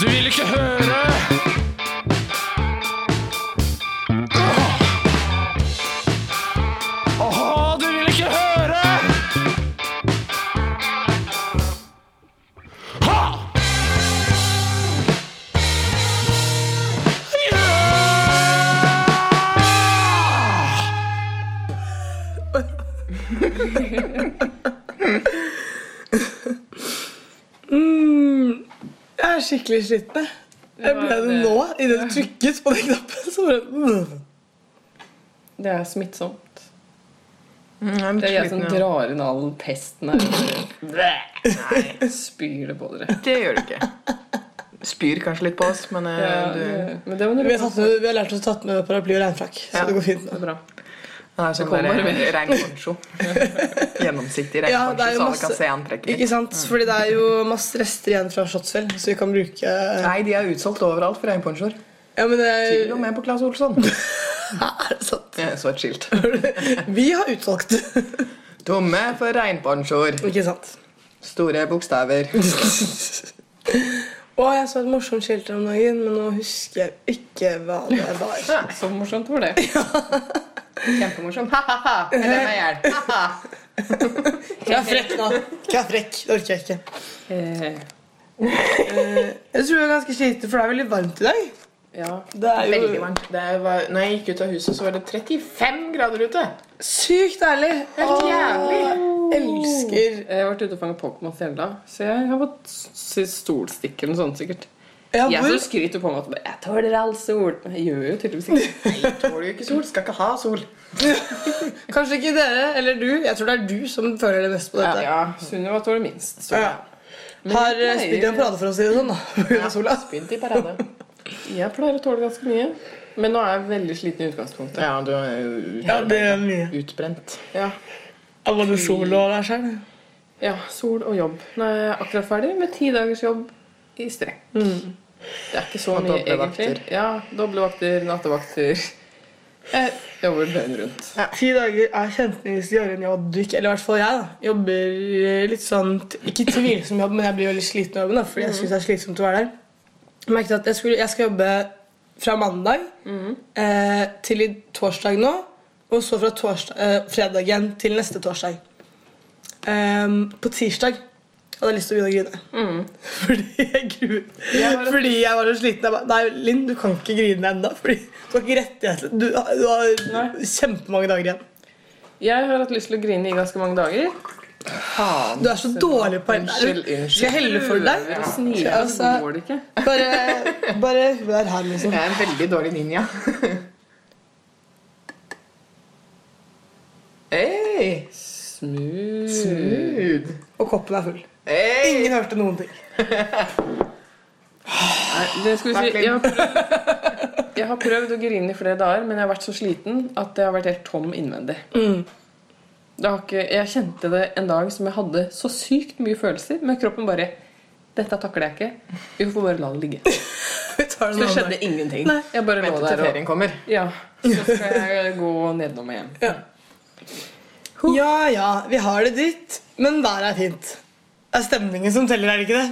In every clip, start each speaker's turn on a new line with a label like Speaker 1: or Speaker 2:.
Speaker 1: vil ikke høre. Åh, Åh, du vil ikke høre. Ha! Ja!
Speaker 2: Jeg er skikkelig sliten. jeg. Jeg ble det nå. Idet du trykket på den knappen, så bare
Speaker 3: Det er smittsomt.
Speaker 4: Jeg
Speaker 3: Det er sånn jeg som
Speaker 4: sliten, ja.
Speaker 3: drar inn all pesten her. Nei, Spyr det på dere.
Speaker 4: Det gjør du ikke. Spyr kanskje litt på oss, men eh,
Speaker 3: Ja,
Speaker 4: du
Speaker 3: det- men det var
Speaker 2: Vi har,
Speaker 3: noe
Speaker 2: tatt med, vi har lært oss å tatt med paraply og regnfrakk, så
Speaker 4: Ja.
Speaker 2: det går fint
Speaker 3: Det er
Speaker 2: nå.
Speaker 3: bra.
Speaker 4: Det er sånn
Speaker 3: kommer
Speaker 4: der,
Speaker 3: mer.
Speaker 4: rein poncho. Gjennomsiktig rein
Speaker 2: Ja, det
Speaker 4: poncho,
Speaker 2: er jo
Speaker 4: så alle
Speaker 2: masse-
Speaker 4: kan se antrekket Mm. ditt.
Speaker 2: Ikke sant? Fordi det er jo masse rester igjen fra Slottsfjell, så vi kan bruke Ja,
Speaker 4: Nei, de er utsolgt overalt for regnponchoer.
Speaker 2: men det er,
Speaker 4: Til og med på Claes Olsson.
Speaker 2: er det sant?
Speaker 4: Jeg så et skilt.
Speaker 2: Vi har utvalgt.
Speaker 4: Tomme for regnponchoer.
Speaker 2: Ikke sant?
Speaker 4: Store bokstaver.
Speaker 2: Å, jeg så et morsomt skilt her om dagen, men nå husker jeg ikke hva det var.
Speaker 3: Så morsomt var det.
Speaker 4: Kjempemorsom. Ha-ha-ha. Eller meg hjelp. Ha-ha.
Speaker 2: Jeg er frekk nå. Jeg er frekk. Det orker jeg ikke.
Speaker 3: Eh,
Speaker 2: Eh, Jeg tror jeg er ganske sliten, for det er veldig varmt i dag.
Speaker 3: Ja.
Speaker 2: Det er jo
Speaker 4: Veldig varmt. Det var, når jeg gikk ut av huset, så var det 35 grader ute.
Speaker 2: sykt deilig.
Speaker 4: Helt
Speaker 2: Åh,
Speaker 4: jævlig.
Speaker 2: elsker
Speaker 3: Jeg har vært ute og fanget Pokémon på Fjella, så jeg har fått s- stolstikker og sånn sikkert.
Speaker 2: Ja,
Speaker 3: Jeg
Speaker 2: hvor
Speaker 3: som skryter på meg at bare, jeg tåler all sol. Men Jeg gjør jo tydeligvis ikke det.
Speaker 4: Tåler jo ikke sol. Skal ikke ha sol.
Speaker 2: Kanskje ikke dere eller du. Jeg tror det er du som føler det mest på dette.
Speaker 3: Ja, Sunniva tåler minst. Så.
Speaker 2: Ja. Har eh,
Speaker 3: jeg pleier-
Speaker 2: spilt i en parade for å si det sånn, da. På grunn av sola.
Speaker 4: Spynt i parade.
Speaker 3: Jeg pleier å tåle ganske mye. Men nå er jeg veldig sliten i utgangspunktet.
Speaker 4: Ja, du er jo
Speaker 2: Ja,
Speaker 4: ut-
Speaker 2: det er mye.
Speaker 4: utbrent.
Speaker 3: Ja.
Speaker 2: Av både sol og der sjøl.
Speaker 3: ja, sol og jobb. Nå er jeg akkurat ferdig med ti dagers jobb i strekk.
Speaker 2: Mm.
Speaker 3: Det er ikke så
Speaker 4: Og
Speaker 3: mye,
Speaker 4: doble
Speaker 3: egentlig.
Speaker 4: vakter.
Speaker 3: Ja, Doble vakter, nattevakter. Jeg jobber døgnet rundt.
Speaker 2: Ti dager er kjempemye dårligere enn jeg hadde ikke. Eller i hvert fall jeg, da. Jobber eh, litt sånn t- Ikke tvilsom jobb, men jeg blir veldig sliten av jobben, da, fordi jeg syns det er slitsomt å være der. Jeg merket at jeg, skulle, jeg skal jobbe fra mandag eh, til i torsdag nå, og så fra torsdag, eh, fredag igjen til neste torsdag. Ehm, på tirsdag hadde jeg lyst til å begynne å grine. Fordi jeg gruer
Speaker 3: Jeg var-
Speaker 2: Fordi jeg var så sliten. Jeg bare, Nei, Linn, du kan ikke grine ennå. Fordi du har ikke rettighet til- Du, du har
Speaker 3: Nei.
Speaker 2: kjempemange dager igjen.
Speaker 3: Jeg har hatt lyst til å grine i ganske mange dager.
Speaker 2: Du er så dårlig på
Speaker 4: Unnskyld, unnskyld.
Speaker 2: Skal jeg helle for deg?
Speaker 3: Prøver å snike,
Speaker 2: Ja,
Speaker 3: så
Speaker 2: altså.
Speaker 3: går det ikke.
Speaker 2: Bare, bare vær her, liksom.
Speaker 4: Jeg er en veldig dårlig ninja. Hey,
Speaker 3: Smooth.
Speaker 4: smooth.
Speaker 2: Og koppen er full.
Speaker 4: Hey.
Speaker 2: Ingen hørte noen ting.
Speaker 3: Nei, det skal vi si.
Speaker 4: Takk, Linn.
Speaker 3: Jeg har, prøvd, jeg har prøvd å grine i flere dager, men jeg har vært så sliten at jeg har vært helt tom innvendig.
Speaker 4: Mm.
Speaker 3: Det har ikke, jeg kjente det en dag som jeg hadde så sykt mye følelser, men kroppen bare Dette takler jeg ikke. Vi får bare la det ligge.
Speaker 2: Vi tar
Speaker 3: Så det
Speaker 2: annen
Speaker 3: skjedde
Speaker 2: dag.
Speaker 3: ingenting.
Speaker 2: Nei.
Speaker 3: Jeg bare lå
Speaker 4: Vent til
Speaker 3: der og
Speaker 4: ferien kommer.
Speaker 3: Ja. Så skal jeg gå nedenom og hjem.
Speaker 2: Ja ja, vi har det dritt, men været er fint. Det er stemningen som teller, er det ikke det?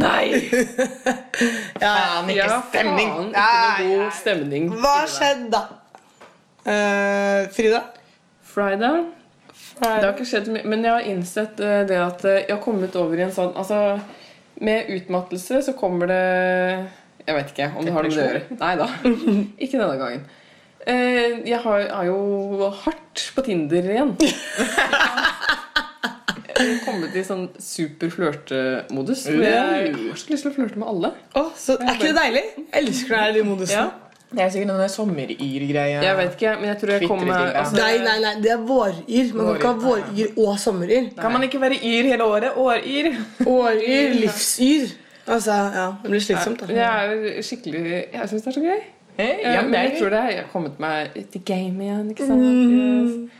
Speaker 3: Nei!
Speaker 4: Faen,
Speaker 3: Jeg har
Speaker 4: ikke
Speaker 3: faen
Speaker 4: stemning.
Speaker 3: ikke
Speaker 4: Nei,
Speaker 3: noe
Speaker 4: nei.
Speaker 3: god stemning.
Speaker 2: Hva skjedde da? Eh, Frida?
Speaker 3: Friday Det har ikke skjedd så mye, men jeg har innsett eh, det at eh, jeg har kommet over i en sånn Altså, med utmattelse så kommer det Jeg vet ikke om det har noe med det å gjøre. Nei da. Ikke denne gangen. Eh, Jeg har, er jo hardt på Tinder igjen. Jeg har kommet i sånn super flørtemodus. hvor Jeg har så lyst til å flørte med alle.
Speaker 2: Å, så er ikke det deilig? Jeg elsker når jeg er i modusen.
Speaker 3: Ja.
Speaker 4: Det er sikkert den sommeryr-greia.
Speaker 3: Jeg vet ikke, men jeg tror jeg
Speaker 4: Kvitter
Speaker 3: kommer
Speaker 4: ikke, ja.
Speaker 3: altså,
Speaker 2: Nei, nei, nei, det er våryr. Man kan ikke ha våryr og sommeryr.
Speaker 4: Kan man ikke være yr hele året? Åryr.
Speaker 2: Åryr, livsyr. Altså, ja, Det blir slitsomt, da.
Speaker 3: Jeg er jo skikkelig Jeg syns det er så gøy.
Speaker 4: Hey,
Speaker 3: Ja,
Speaker 4: ja,
Speaker 3: men
Speaker 4: det
Speaker 3: jeg
Speaker 4: er
Speaker 3: tror
Speaker 4: gøy.
Speaker 3: det er- Jeg har kommet meg ut i gamet igjen, ikke sant?
Speaker 2: Mm.
Speaker 3: Yes.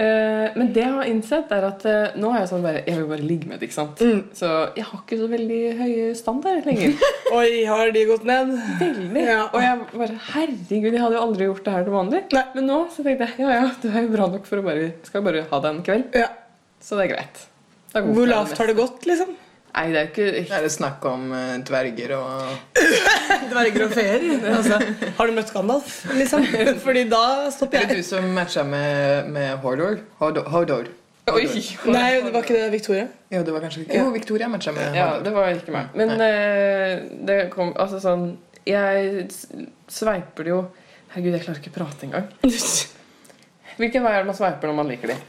Speaker 3: Eh, men det jeg har innsett, er at eh, nå er jeg sånn bare Jeg vil bare ligge med det, ikke sant?
Speaker 2: Mm.
Speaker 3: Så jeg har ikke så veldig høye standarder lenger.
Speaker 2: Oi, har de gått ned?
Speaker 3: Veldig.
Speaker 2: Ja.
Speaker 3: Og jeg bare Herregud, jeg hadde jo aldri gjort det her til vanlig.
Speaker 2: Nei.
Speaker 3: Men nå så tenkte jeg ja ja, du er jo bra nok for å bare Skal bare ha deg en kveld.
Speaker 2: Ja.
Speaker 3: Så det er greit. Da går
Speaker 2: Hvor
Speaker 3: jeg
Speaker 2: lavt har det gått, liksom?
Speaker 3: Nei, det er jo ikke
Speaker 4: Er det snakk om eh, dverger og
Speaker 2: Dverger og feer. Altså, har du møtt Gandalf? Liksom? Fordi da stopper
Speaker 4: Eller
Speaker 2: jeg.
Speaker 4: du som matcha med, med Hordor? Hodor? Hodor.
Speaker 3: Oi!
Speaker 2: Nei, det var ikke det Victoria.
Speaker 4: Jo, det var kanskje ikke Jo, Victoria matcha med
Speaker 3: Ja,
Speaker 4: Hodor.
Speaker 3: det var ikke meg.
Speaker 4: Mm,
Speaker 3: Men eh, det kom Altså sånn Jeg s- sveiper det jo Herregud, jeg klarer ikke å prate engang. Hvilken vei er det man sveiper når man liker de?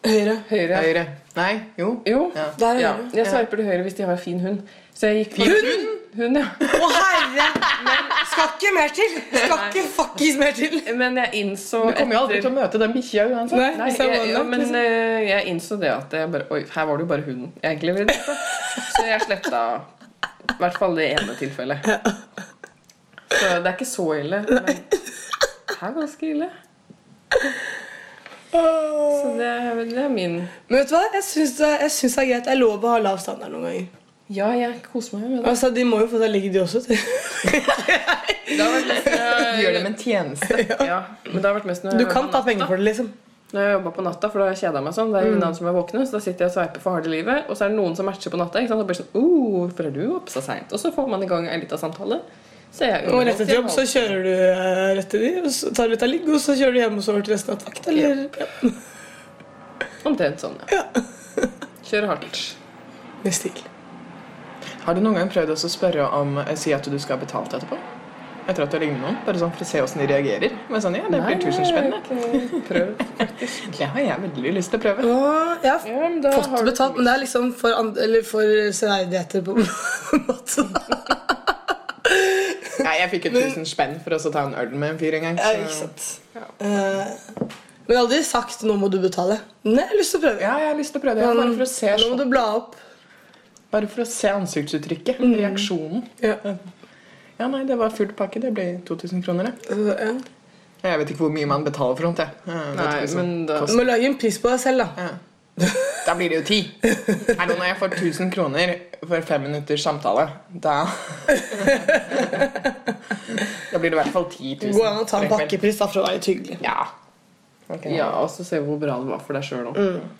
Speaker 2: Høyre.
Speaker 3: Høyre?
Speaker 4: Høyre. Nei, jo.
Speaker 3: Jo.
Speaker 4: Ja.
Speaker 2: Der er
Speaker 3: Ja.
Speaker 2: høyre.
Speaker 3: Jeg sveiper til høyre hvis de har en fin hund. Så jeg gikk for hund! Hund, ja.
Speaker 2: Å, herre! Skal ikke mer til! Skal ikke fuckings mer til!
Speaker 3: Men jeg innså
Speaker 4: Du kommer jo aldri til å møte den bikkja uansett.
Speaker 2: Nei,
Speaker 3: Nei,
Speaker 2: hvis jeg,
Speaker 3: jeg,
Speaker 2: var
Speaker 3: jo,
Speaker 2: nok,
Speaker 3: men
Speaker 2: liksom.
Speaker 3: eh, jeg innså det at jeg bare, Oi, her var det jo bare hunden jeg egentlig ville drepe. Så jeg sletta i hvert fall det ene tilfellet. Så det er ikke så ille. Men det er ganske ille.
Speaker 2: Åh.
Speaker 3: Så det, er- det er min
Speaker 2: Men vet du hva? Jeg syns det, jeg syns det er greit. Det er lov å ha lav standard noen ganger.
Speaker 3: Ja, jeg koser meg med det.
Speaker 2: Altså, De må jo få seg ligge, de også.
Speaker 3: det har vært mest,
Speaker 4: Du gjør dem en tjeneste.
Speaker 3: ja, men det har vært mest når jeg
Speaker 2: Du
Speaker 3: jobber
Speaker 2: kan
Speaker 3: på
Speaker 2: ta
Speaker 3: natta.
Speaker 2: penger for det, liksom.
Speaker 3: Når jeg jobba på natta, for da kjeda jeg meg sånn. Det er
Speaker 2: Mm.
Speaker 3: ingen annen som er våkne, så da sitter jeg og sveiper for harde livet. Og så er det noen som matcher på natta. Ikke sant? Og blir sånn, oh, hvorfor er du oppe så sent? Og så får man i gang en liten samtale. Så jeg er jo
Speaker 2: Og rett etter
Speaker 3: til
Speaker 2: jobb så kjører du eh, rett til de, og så tar du litt av ligg, og så kjører du hjem og sover til resten av vakt, eller? Ja.
Speaker 3: halv- Omtrent sånn, ja. Kjører hardt.
Speaker 2: Med stil.
Speaker 4: Har du noen gang prøvd også å spørre om eh, Si at du skal ha betalt etterpå? Etter at du har lignet noen? Bare sånn for å se åssen de reagerer? Men sånn, ja, det blir tusen spenn. det.
Speaker 3: Prøv.
Speaker 4: Det har jeg veldig lyst til å prøve.
Speaker 2: Og jeg har
Speaker 3: Ja, men da
Speaker 2: fått
Speaker 3: har du-
Speaker 2: betalt, men det er liksom for, and- eller for severdigheter på en måte.
Speaker 4: Nei, jeg fikk jo tusen spenn for å ta en øl med en fyr en gang.
Speaker 2: Ja, ikke sant. Eh, Men jeg har aldri sagt 'nå må du betale'. Nei, jeg har lyst til å prøve.
Speaker 4: Ja, jeg har lyst til å prøve det. Bare for å se, sånn.
Speaker 2: Nå må du bla opp.
Speaker 4: bare for å se ansiktsuttrykket. Reaksjonen.
Speaker 2: Ja.
Speaker 4: Ja, nei, det var full pakke. Det ble 2000 kroner, det.
Speaker 2: Altså, ja.
Speaker 4: Jeg vet ikke hvor mye man betaler for noe. jeg. Jeg vet
Speaker 3: Nei,
Speaker 4: ikke sånn.
Speaker 3: men da
Speaker 2: Du må lage en pris på deg selv, da.
Speaker 4: Ja. Da blir det jo ti. Nei, nå når jeg får 1000 kroner for fem minutters samtale, da Da blir det i hvert fall 10 000.
Speaker 2: Gå an å ta en
Speaker 4: for kveld.
Speaker 2: pakkepris da, for å være litt hyggelig.
Speaker 4: Ja. Ok.
Speaker 3: Ja, og så se hvor bra det var for deg sjøl òg.
Speaker 2: Mm,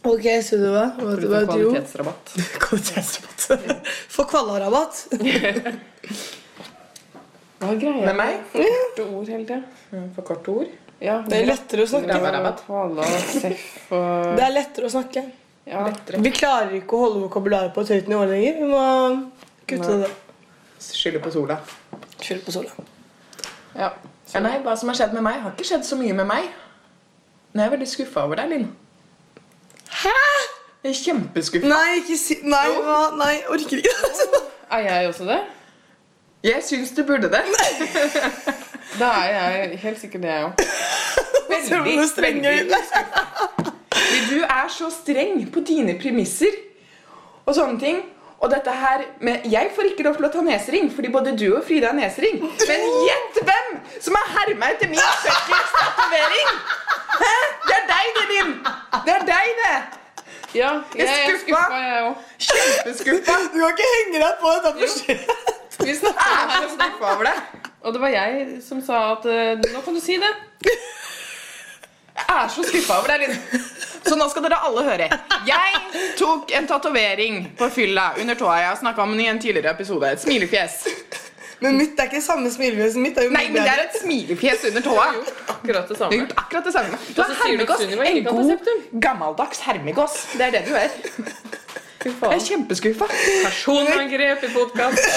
Speaker 2: Ok, Sunniva. Hva
Speaker 3: For
Speaker 2: du
Speaker 3: du får
Speaker 2: bare dro?
Speaker 3: kvalitetsrabatt.
Speaker 2: Kvalitetsrabatt. Få kvallarabatt.
Speaker 3: Hva er greia
Speaker 4: Med meg?
Speaker 3: korte ord hele tida?
Speaker 4: Mm, For korte ord.
Speaker 3: Ja,
Speaker 2: Det er lettere å snakke.
Speaker 3: Rabatt. Hvala, seff og
Speaker 2: Det er lettere å snakke.
Speaker 3: ja.
Speaker 2: Vi klarer ikke å holde vokabularet på et høyt nivå lenger. Vi må kutte
Speaker 3: Nei.
Speaker 2: det.
Speaker 4: Skylder på sola.
Speaker 2: Skyld på sola.
Speaker 4: Ja. ja. Nei, hva som har skjedd med meg, har ikke skjedd så mye med meg. Men jeg er veldig skuffa over deg, Linn. Hæ? Jeg er kjempeskuffa.
Speaker 2: Nei, ikke si Nei, hva? Nei, orker ikke.
Speaker 3: Er jeg også det?
Speaker 4: Jeg syns du burde det.
Speaker 3: Da er jeg helt sikkert det, jeg òg.
Speaker 2: Ser du hvor streng jeg er?
Speaker 4: Fordi du er så streng på dine premisser og sånne ting. Og dette her med Jeg får ikke lov til å ta nesering, fordi både du og Frida har nesering. Men gjett hvem som har herma etter min fuckings tatovering! Hæ? Det er deg, det, Linn! Det er deg, det!
Speaker 3: Ja, jeg er
Speaker 4: skuffa.
Speaker 3: skuffa, jeg òg.
Speaker 4: Kjempeskuffa.
Speaker 2: Du kan ikke henge deg på dette for skyld.
Speaker 3: Vi snakket
Speaker 4: Jeg
Speaker 3: om
Speaker 4: er
Speaker 3: det
Speaker 4: så
Speaker 3: her.
Speaker 4: skuffa over deg.
Speaker 3: Og det var jeg som sa at eh, Nå kan du si det.
Speaker 4: Jeg er så skuffa over deg,
Speaker 3: liksom
Speaker 4: Linn. Så nå skal dere alle høre. Jeg tok en tatovering på fylla under tåa. Jeg har snakka om den i en tidligere episode. Et smilefjes.
Speaker 2: Men mitt er ikke samme smilefjes. Mitt er jo
Speaker 4: Nei, men det er et smilefjes under tåa.
Speaker 3: Akkurat det
Speaker 4: Du har
Speaker 3: samme.
Speaker 4: gjort akkurat det samme. Du
Speaker 3: Og
Speaker 4: er
Speaker 3: så sier du
Speaker 4: hermegås.
Speaker 3: Sunniva ikke
Speaker 4: En
Speaker 3: kan ta septum.
Speaker 4: god, gammeldags hermegås. Det er det du er.
Speaker 3: Fy
Speaker 4: Jeg er
Speaker 3: faen.
Speaker 4: kjempeskuffa.
Speaker 3: Personangrep i podkast.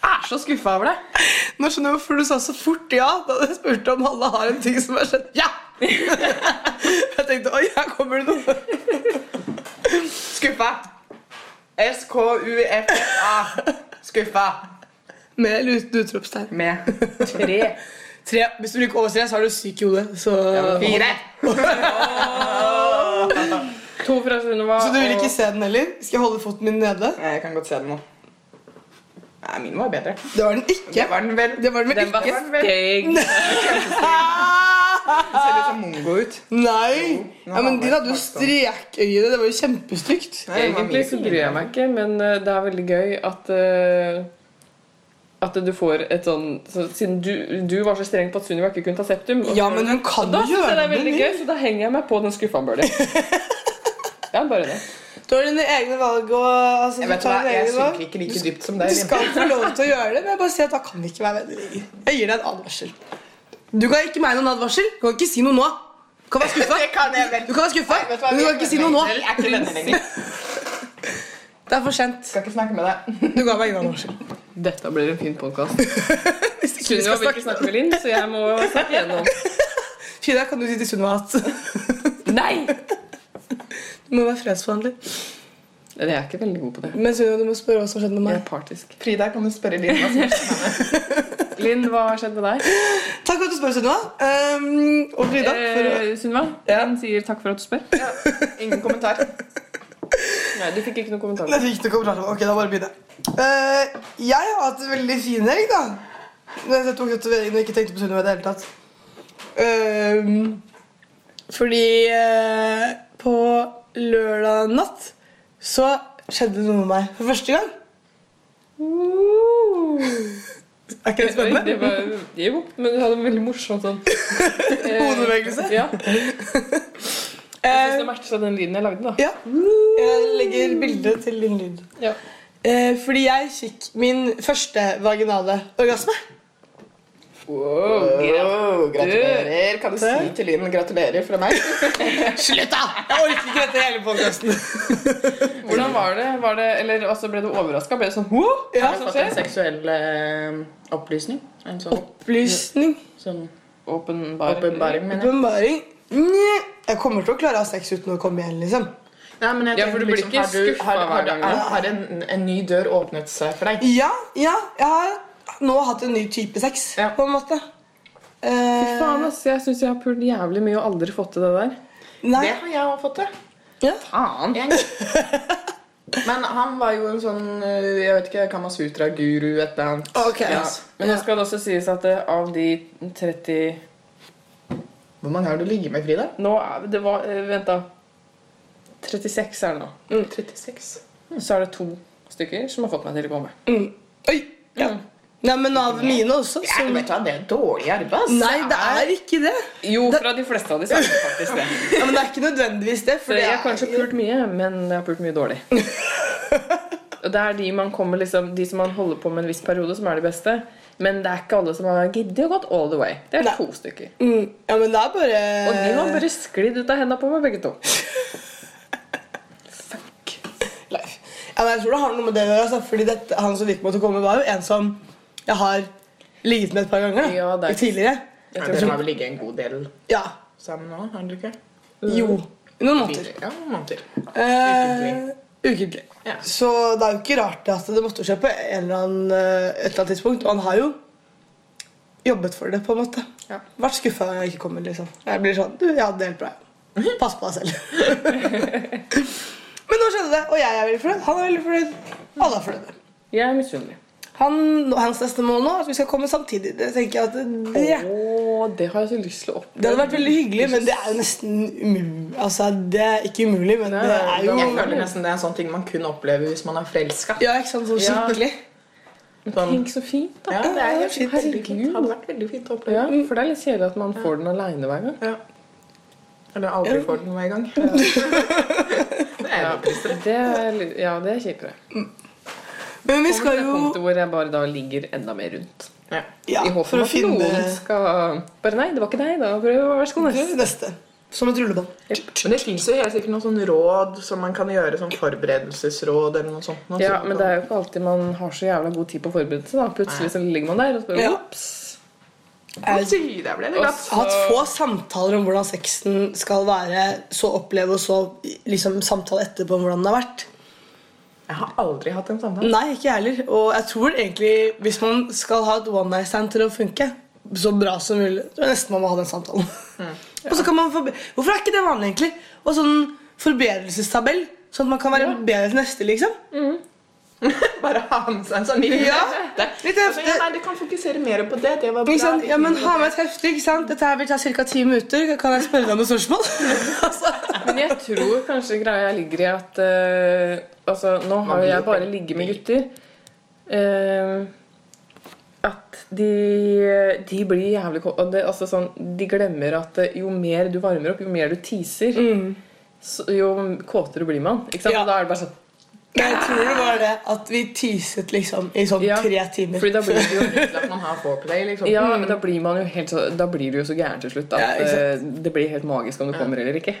Speaker 4: Jeg er så skuffa over deg.
Speaker 2: Nå skjønner jeg hvorfor du sa så fort ja da du spurte om alle har en ting som har skjedd. Ja! Jeg tenkte oi, her kommer det noe.
Speaker 4: Skuffa. S-K-U-F-F-A. Skuffa.
Speaker 2: Med eller uten utropstegn.
Speaker 4: Med tre.
Speaker 2: Tre. Hvis du bruker over tre, så er du syk i hodet. Så...
Speaker 4: Fire.
Speaker 3: To fra Sunniva.
Speaker 2: så du vil
Speaker 3: og-
Speaker 2: ikke se den heller? Skal jeg holde foten min nede?
Speaker 4: Nei, Jeg kan godt se den nå. Nei, min var bedre.
Speaker 2: Det var den ikke.
Speaker 4: Det var den vel.
Speaker 2: Det var den vel
Speaker 3: Den var
Speaker 2: ikke.
Speaker 3: stygg.
Speaker 4: Den ser litt sånn mongo ut.
Speaker 2: Nei!
Speaker 4: Jo,
Speaker 2: Ja, men
Speaker 4: den
Speaker 2: Din
Speaker 4: var
Speaker 2: hadde jo
Speaker 4: faktisk sånn.
Speaker 2: strekøye. Det var jo kjempestygt.
Speaker 4: Nei, den var
Speaker 3: Egentlig
Speaker 4: mye
Speaker 3: så
Speaker 4: finere.
Speaker 3: bryr jeg meg ikke, men eh, det er veldig gøy at eh, at du får et sånn så, Siden du, du var så streng på at Sunniva ikke kunne ta septum. og-
Speaker 2: Ja, men hun kan
Speaker 3: Da
Speaker 2: jo
Speaker 3: synes jeg det
Speaker 2: gjøre
Speaker 3: er veldig
Speaker 2: det.
Speaker 3: gøy, så da henger jeg meg på den skuffa bølgen. Ja, bare det.
Speaker 2: Du har dine egne valg og altså,
Speaker 4: Jeg
Speaker 2: du
Speaker 4: vet hva,
Speaker 2: tar dine
Speaker 4: jeg
Speaker 2: egne valg.
Speaker 4: synker ikke like dypt som deg.
Speaker 2: Du
Speaker 4: Linn.
Speaker 2: skal få lov til å gjøre det, men jeg bare sier at da kan vi ikke være venner lenger. Jeg gir deg en advarsel. Du kan ikke meg noen advarsel. Du kan ikke si noe nå. Du kan være skuffa.
Speaker 4: Det kan jeg vel.
Speaker 2: Du kan være skuffa,
Speaker 4: Nei, vet hva,
Speaker 2: men du
Speaker 4: vi
Speaker 2: kan ikke si noe nå.
Speaker 4: Jeg er ikke venner lenger.
Speaker 2: Det er for sent.
Speaker 4: Skal ikke snakke med deg.
Speaker 2: Du ga meg ingen advarsel.
Speaker 3: Dette blir en fin podkast.
Speaker 2: Hvis ikke vi skal
Speaker 3: Sunniva vil
Speaker 2: snakke.
Speaker 3: ikke snakke med Linn, så jeg må snakke igjennom.
Speaker 2: Frida, kan du si til Sunniva at
Speaker 3: Nei!
Speaker 2: du må være fredsforhandler?
Speaker 3: Jeg er ikke veldig god på det.
Speaker 2: Men Sunniva, du må spørre hva som skjedde med
Speaker 3: Jeg
Speaker 2: meg.
Speaker 3: er partisk.
Speaker 4: Frida, kan du spørre Linn? hva som skjer?
Speaker 3: Linn, hva har skjedd med deg?
Speaker 2: Takk for at du spør, Sunniva. Um, og Frida. For å...
Speaker 3: Eh, Sunniva,
Speaker 4: Ja.
Speaker 3: Linn sier takk for at du spør.
Speaker 4: Ingen kommentar.
Speaker 3: Nei, Du fikk ikke noen kommentar.
Speaker 2: Jeg fikk det kommentar. Ok, da bare begynner jeg. Eh, jeg har hatt en veldig fin helg, da. Mens jeg tok tatoveringen og ikke tenkte på Sunniva i det hele tatt. Ehm, fordi eh, på lørdag natt så skjedde det noe med meg for første gang. Er ikke det
Speaker 3: Uh. Oi,
Speaker 2: spennende?
Speaker 3: Det var, jo, men du hadde en veldig morsom sånn eh,
Speaker 2: Hodebevegelse.
Speaker 3: Ja. Jeg syns det matcha den lyden jeg lagde, da.
Speaker 2: Ja. Eh, Jeg legger bilde til din lyd.
Speaker 3: Ja.
Speaker 2: Eh, fordi jeg fikk min første vaginale orgasme.
Speaker 4: Wow, gratulerer. Kan du si
Speaker 2: Takk.
Speaker 4: til Linn gratulerer fra meg?
Speaker 2: Slutt, da! Jeg orker ikke dette hele podkasten.
Speaker 3: Hvordan var det? Var det eller altså, ble du overraska? Ble det sånn Hå?
Speaker 2: Ja.
Speaker 3: Hva er det som
Speaker 5: fått en
Speaker 3: skjer?
Speaker 5: seksuell eh, opplysning. En sånn,
Speaker 2: Opplysning.
Speaker 5: sånn
Speaker 3: Åpenbar.
Speaker 5: åpenbaring, mener jeg.
Speaker 2: Åpenbaring. Nje. Jeg kommer til å klare å ha sex uten å komme igjen, liksom.
Speaker 5: Nei, men jeg
Speaker 3: Ja,
Speaker 5: tenkte
Speaker 3: for du blir
Speaker 5: liksom,
Speaker 3: ikke
Speaker 5: har du-
Speaker 3: skuffet
Speaker 5: har- har
Speaker 3: hver
Speaker 5: du-
Speaker 3: gang,
Speaker 5: Har
Speaker 3: da?
Speaker 5: har en, en ny dør åpnet seg for deg?
Speaker 2: Ja, ja. Jeg har nå hatt en ny type sex,
Speaker 5: Ja.
Speaker 2: på en måte. Eh,
Speaker 3: Faen, ass. Jeg syns jeg har pult jævlig mye og aldri fått til det der.
Speaker 2: Eh, Nei.
Speaker 5: Det har jeg også fått til.
Speaker 2: Ja.
Speaker 3: Faen.
Speaker 5: En gang. Men han var jo en sånn eh, Jeg vet ikke, Kamasutra-guru, et eller annet.
Speaker 2: Ok.
Speaker 5: Ja.
Speaker 3: Men nå skal det også sies at eh, av de 30
Speaker 5: Hvor mange har du ligget med, Frida?
Speaker 3: Nå er det var, eh, Vent, da. 36 er det nå.
Speaker 5: 36.
Speaker 3: Så er det to stykker som har fått meg til å komme.
Speaker 2: Mm. Oi. Ja. Nei, men av mine også.
Speaker 5: Ja,
Speaker 2: Så...
Speaker 5: vet du hva, det er dårlig arbeid. ass.
Speaker 2: Nei, det er ikke det.
Speaker 3: Jo, fra de fleste av de så er det faktisk det.
Speaker 2: Ja, men det er ikke nødvendigvis det.
Speaker 3: Så
Speaker 2: For det
Speaker 3: jeg har
Speaker 2: er...
Speaker 3: kanskje pult mye, men jeg har pult mye dårlig. Og det er de man kommer liksom De som man holder på med en viss periode, som er de beste. Men det er ikke alle som har giddet å gått all the way. Det er
Speaker 2: Nei.
Speaker 3: to stykker.
Speaker 2: Mm. Ja, men det er bare
Speaker 3: Og de har bare sklidd ut av hendene på meg, begge to.
Speaker 2: Leif. Ja, men jeg tror det har noe med det å gjøre. Altså, fordi dette, han som fikk meg til å komme, var jo en som jeg har ligget med et par ganger. da,
Speaker 3: Ja, det er-
Speaker 2: Tidligere.
Speaker 5: Ja, Dere har vel ligget en god del
Speaker 2: Ja.
Speaker 5: sammen nå? har dere ikke?
Speaker 2: Jo. Noen måneder.
Speaker 5: Ja, måneder.
Speaker 2: Eh, Ukentlig.
Speaker 5: Ja.
Speaker 2: Så det er jo ikke rart at det måtte skje på en eller annen, eh, et eller annet tidspunkt. Og han har jo jobbet for det, på en måte.
Speaker 5: Ja.
Speaker 2: Vært skuffa når jeg ikke kommer. liksom. Jeg blir sånn Du, jeg hadde det helt bra. jeg. Pass på deg selv. Men nå skjedde det, og jeg er veldig fornøyd. Han er veldig fornøyd. Alle er fornøyde.
Speaker 3: Jeg er misunnelig.
Speaker 2: Han, hans neste mål nå er at vi skal komme samtidig. Det tenker jeg at det,
Speaker 3: Å, det har jeg så lyst til å oppleve.
Speaker 2: det hadde vært veldig hyggelig, men det er jo nesten umulig. Altså, det er ikke umulig, men det er jo
Speaker 5: Jeg føler nesten det er en sånn ting man kun opplever hvis man er forelska.
Speaker 2: Ja, ikke sant? Sånn
Speaker 5: Ja.
Speaker 2: skikkelig.
Speaker 5: Sånn,
Speaker 3: Tenk så fint, da. Mm.
Speaker 5: ja, det er helt
Speaker 2: Shit,
Speaker 5: veldig fint.
Speaker 3: herregud.
Speaker 5: Det hadde vært veldig fint å oppleve.
Speaker 3: Ja, for det er litt kjedelig at man får den aleine hver gang.
Speaker 5: Ja. Eller aldri får den hver gang. Det er
Speaker 3: Ja,
Speaker 5: jo trist.
Speaker 3: det er, litt- ja, det er kjipere.
Speaker 2: Men vi
Speaker 3: Kommer
Speaker 2: skal
Speaker 3: til det
Speaker 2: jo
Speaker 3: punktet hvor jeg bare da ligger enda mer rundt.
Speaker 5: Ja.
Speaker 2: ja,
Speaker 3: I håp
Speaker 2: for
Speaker 3: om
Speaker 2: å
Speaker 3: at
Speaker 2: finne
Speaker 3: noen skal Bare nei, det var ikke deg, da. Prøv å være
Speaker 2: det
Speaker 3: skones.
Speaker 2: neste. Som et rullebånd.
Speaker 5: Men det fins jo helt sikkert noen sånn råd som man kan gjøre, sånn forberedelsesråd eller noe sånt. noe
Speaker 3: Ja,
Speaker 5: sånt.
Speaker 3: men det er jo ikke alltid man har så jævla god tid på å forberede seg. da Plutselig så ligger man der og spør
Speaker 2: Ja.
Speaker 3: ops.
Speaker 5: Oi, der ble det glatt.
Speaker 2: Jeg har hatt få samtaler om hvordan sexen skal være, så oppleve, og så liksom samtale etterpå om hvordan den har vært.
Speaker 5: Jeg har aldri hatt en sånn samtale.
Speaker 2: Nei, ikke jeg heller. Og jeg tror egentlig hvis man skal ha et one night stand til å funke så bra som mulig, så er det nesten man må ha den samtalen. Og så kan man forbe- Hvorfor er ikke det vanlig, egentlig? Og sånn forbedrelsestabell, sånn at man kan være bedre til neste, liksom.
Speaker 5: Bare ha med seg en sånn liten
Speaker 2: Ja,
Speaker 5: hefte.
Speaker 2: litt
Speaker 5: Altså, ja,
Speaker 2: hefte.
Speaker 5: nei, du kan fokusere mer på det. Det var bra.
Speaker 2: Ikke sant? Ja, men Ha med et hefte. ikke sant? Dette her vil ta ca. ti minutter. Kan jeg spørre deg noen spørsmål? altså,
Speaker 3: Men jeg tror kanskje greia ligger i at eh, Altså, nå har jo jeg bare ligget med gutter. Eh, at de, de blir jævlig ko- og det, altså sånn, De glemmer at eh, jo mer du varmer opp, jo mer du teaser, så, jo kåtere blir man. Ikke sant?
Speaker 2: Mm. Ja.
Speaker 3: Og Da er det bare sånn
Speaker 2: Men jeg tror det var det at vi teaset liksom i sånn
Speaker 3: Ja,
Speaker 2: tre timer.
Speaker 3: Fordi da blir du jo
Speaker 4: At man har foreplay, liksom.
Speaker 3: Ja, men da blir man jo helt så Da blir du jo så gæren til slutt at
Speaker 2: Mm. Ja, ikke sant. Mm.
Speaker 3: eh, det blir helt magisk om du kommer eller ikke.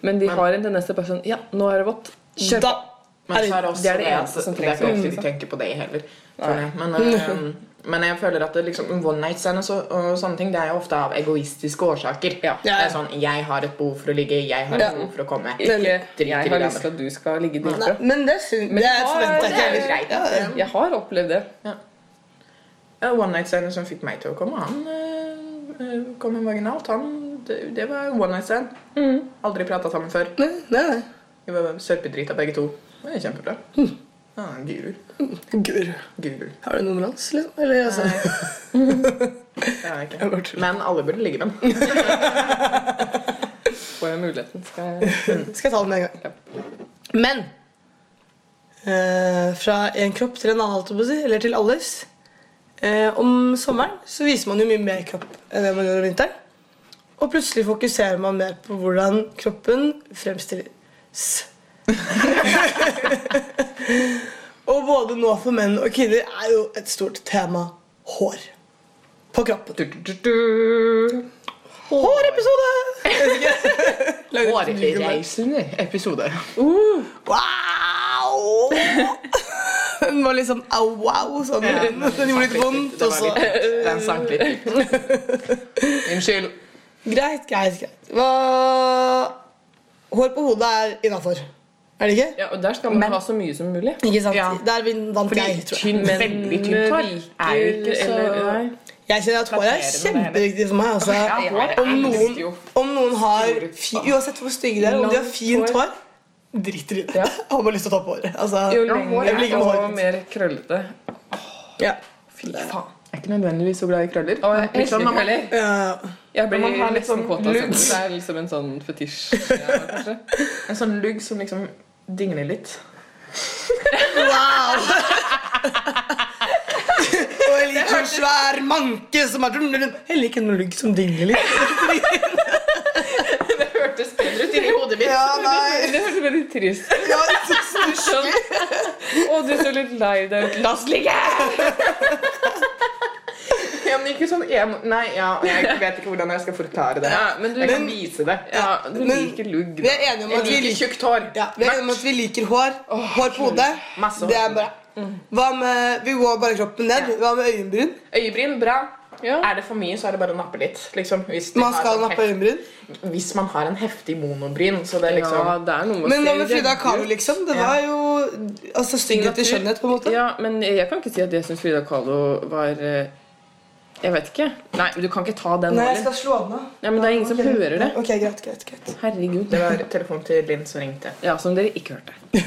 Speaker 3: Men de har en tendens til bare sånn Ja, nå er det vått. Kjør
Speaker 2: Da
Speaker 3: på.
Speaker 4: Men så er det
Speaker 2: Herregud.
Speaker 4: også
Speaker 3: det er det
Speaker 4: at-
Speaker 3: eneste som
Speaker 4: det er ikke
Speaker 3: trengs,
Speaker 4: alltid de
Speaker 3: liksom.
Speaker 4: tenker på det heller. føler jeg. Men, eh, men jeg føler at det liksom one night stands og, og sånne ting Det er jo ofte av egoistiske årsaker.
Speaker 3: Ja.
Speaker 4: Det er sånn 'jeg har et behov for å ligge, jeg har
Speaker 2: Ja.
Speaker 4: et behov for å komme'.
Speaker 3: Ikke,
Speaker 4: Drit i
Speaker 3: jeg
Speaker 4: de
Speaker 3: har
Speaker 4: andre.
Speaker 3: lyst til at du skal ligge
Speaker 2: Nei,
Speaker 3: dritbra.
Speaker 2: men det, syns- det
Speaker 3: ja,
Speaker 2: forventa
Speaker 3: det
Speaker 2: ikke
Speaker 4: er jo
Speaker 2: jeg.
Speaker 4: greit.
Speaker 2: Ja, ja.
Speaker 3: Jeg har opplevd det.
Speaker 4: Ja, One night stand som fikk meg til å komme, han eh, eh, kom vaginalt. Han, det, det var one night stand.
Speaker 3: Mm.
Speaker 4: Aldri prata sammen før.
Speaker 2: Nei, nei, nei.
Speaker 4: Vi var sørpedrita begge to. Det er kjempebra. Ja, en guru.
Speaker 2: Gud,
Speaker 4: Guru.
Speaker 2: har du nummeret hans, liksom? Eller altså
Speaker 4: Nei. Det er jeg
Speaker 2: bare
Speaker 4: ikke. Men alle burde ligge med den.
Speaker 3: Får jeg muligheten, skal jeg
Speaker 2: Skal jeg ta den med en gang. Men eh, fra en kropp til en annen, holdt jeg på å si, eller til alles. Eh, om sommeren så viser man jo mye mer kropp enn det man gjør om vinteren. Og plutselig fokuserer man mer på hvordan kroppen fremstilles. og både nå for menn og kvinner er jo et stort tema hår på kroppen. Hårepisode!
Speaker 4: Hårreisende episode.
Speaker 2: Wow! Den var liksom au, wow. Sånn. den, gjorde litt vondt. altså. Og så.
Speaker 4: Den sank litt. Unnskyld.
Speaker 2: Greit, greit, greit. Hva Hår på hodet er innafor. Er det ikke?
Speaker 3: ja, Og der skal man ha så mye som mulig.
Speaker 2: Ikke sant?
Speaker 4: Ja.
Speaker 2: Der vin- vant jeg, tror jeg.
Speaker 4: Tynn, veldig tynt hår er jo ikke så
Speaker 3: Eller, nei.
Speaker 2: Jeg kjenner at hår er
Speaker 4: Flatterende,
Speaker 2: kjempeviktig for meg. Altså.
Speaker 4: Ja, hår
Speaker 2: Om,
Speaker 4: elsker
Speaker 2: noen,
Speaker 4: jo.
Speaker 2: om noen har fi, Uansett hvor stygge de er, om de har
Speaker 3: Langt
Speaker 2: fint
Speaker 3: hår.
Speaker 2: hår, driter i det.
Speaker 3: Ja.
Speaker 2: Har bare lyst til å ta på håret.
Speaker 3: Jo
Speaker 2: Altså,
Speaker 3: lengre
Speaker 2: jeg blir ikke
Speaker 3: og
Speaker 2: håret.
Speaker 3: mer krøllete.
Speaker 2: ja.
Speaker 4: Faen. Jeg er ikke nødvendigvis så glad i krøller.
Speaker 3: Og jeg
Speaker 4: Litt
Speaker 3: elsker
Speaker 4: sånn når man-
Speaker 3: krøller.
Speaker 2: Ja.
Speaker 3: Jeg
Speaker 4: Når man
Speaker 3: blir
Speaker 4: har litt
Speaker 3: nesten
Speaker 4: sånn
Speaker 3: kåt av sånt.
Speaker 4: lugs.
Speaker 3: Det er liksom en sånn fetisj. Ja, kanskje.
Speaker 4: En sånn lugg som liksom dingler litt.
Speaker 2: Wow! og jeg liker en svær manke som er sånn, Jeg liker en lugg som dingler litt.
Speaker 4: Det hørtes bedre ut inni hodet mitt.
Speaker 2: ja, nei.
Speaker 3: Det hørtes veldig trist ut.
Speaker 2: Ja, så stusslig.
Speaker 3: Sånn. Å, du så litt lei deg ut. La oss ligge!
Speaker 4: Ja, men ikke sånn en- Nei, ja, jeg vet ikke hvordan jeg skal forklare det.
Speaker 3: Ja, men du-
Speaker 4: jeg kan vise det.
Speaker 3: Ja, du
Speaker 2: Men-
Speaker 3: liker lugg,
Speaker 2: Vi
Speaker 3: da.
Speaker 2: er enige om
Speaker 4: Jeg
Speaker 2: at vi
Speaker 4: liker
Speaker 2: liker,
Speaker 4: tjukt hår.
Speaker 2: ja, vi er enige om at vi liker hår. Hår på hodet.
Speaker 4: Masse hår.
Speaker 2: Det er bra.
Speaker 3: Mm.
Speaker 2: Hva med Vi går bare kroppen ned. Hva med øyenbryn?
Speaker 4: Øyebryn, bra.
Speaker 3: Ja.
Speaker 4: Er det for mye, så er det bare å nappe litt. Liksom, hvis, de
Speaker 2: Man
Speaker 4: har
Speaker 2: skal
Speaker 4: sånn
Speaker 2: nappe øyenbryn.
Speaker 4: hef- hvis man har en heftig monobryn, så det er liksom
Speaker 3: Ja, det er noe med å
Speaker 2: Men hva
Speaker 3: se
Speaker 2: med Frida
Speaker 3: redd
Speaker 2: Kahlo,
Speaker 3: ut.
Speaker 2: liksom? Det var jo altså, stygghet til skjønnhet, på en måte.
Speaker 3: Ja, men jeg kan ikke si at jeg syns Frida Kahlo var eh, Jeg vet ikke. Nei, men du kan ikke ta den nå,
Speaker 2: Nei, jeg
Speaker 3: eller?
Speaker 2: skal slå den av.
Speaker 3: Ja, men det er ingen som hører det.
Speaker 2: Ok, greit, greit, greit.
Speaker 3: Herregud.
Speaker 4: Det var telefonen til Linn som ringte.
Speaker 3: Ja, som dere ikke hørte.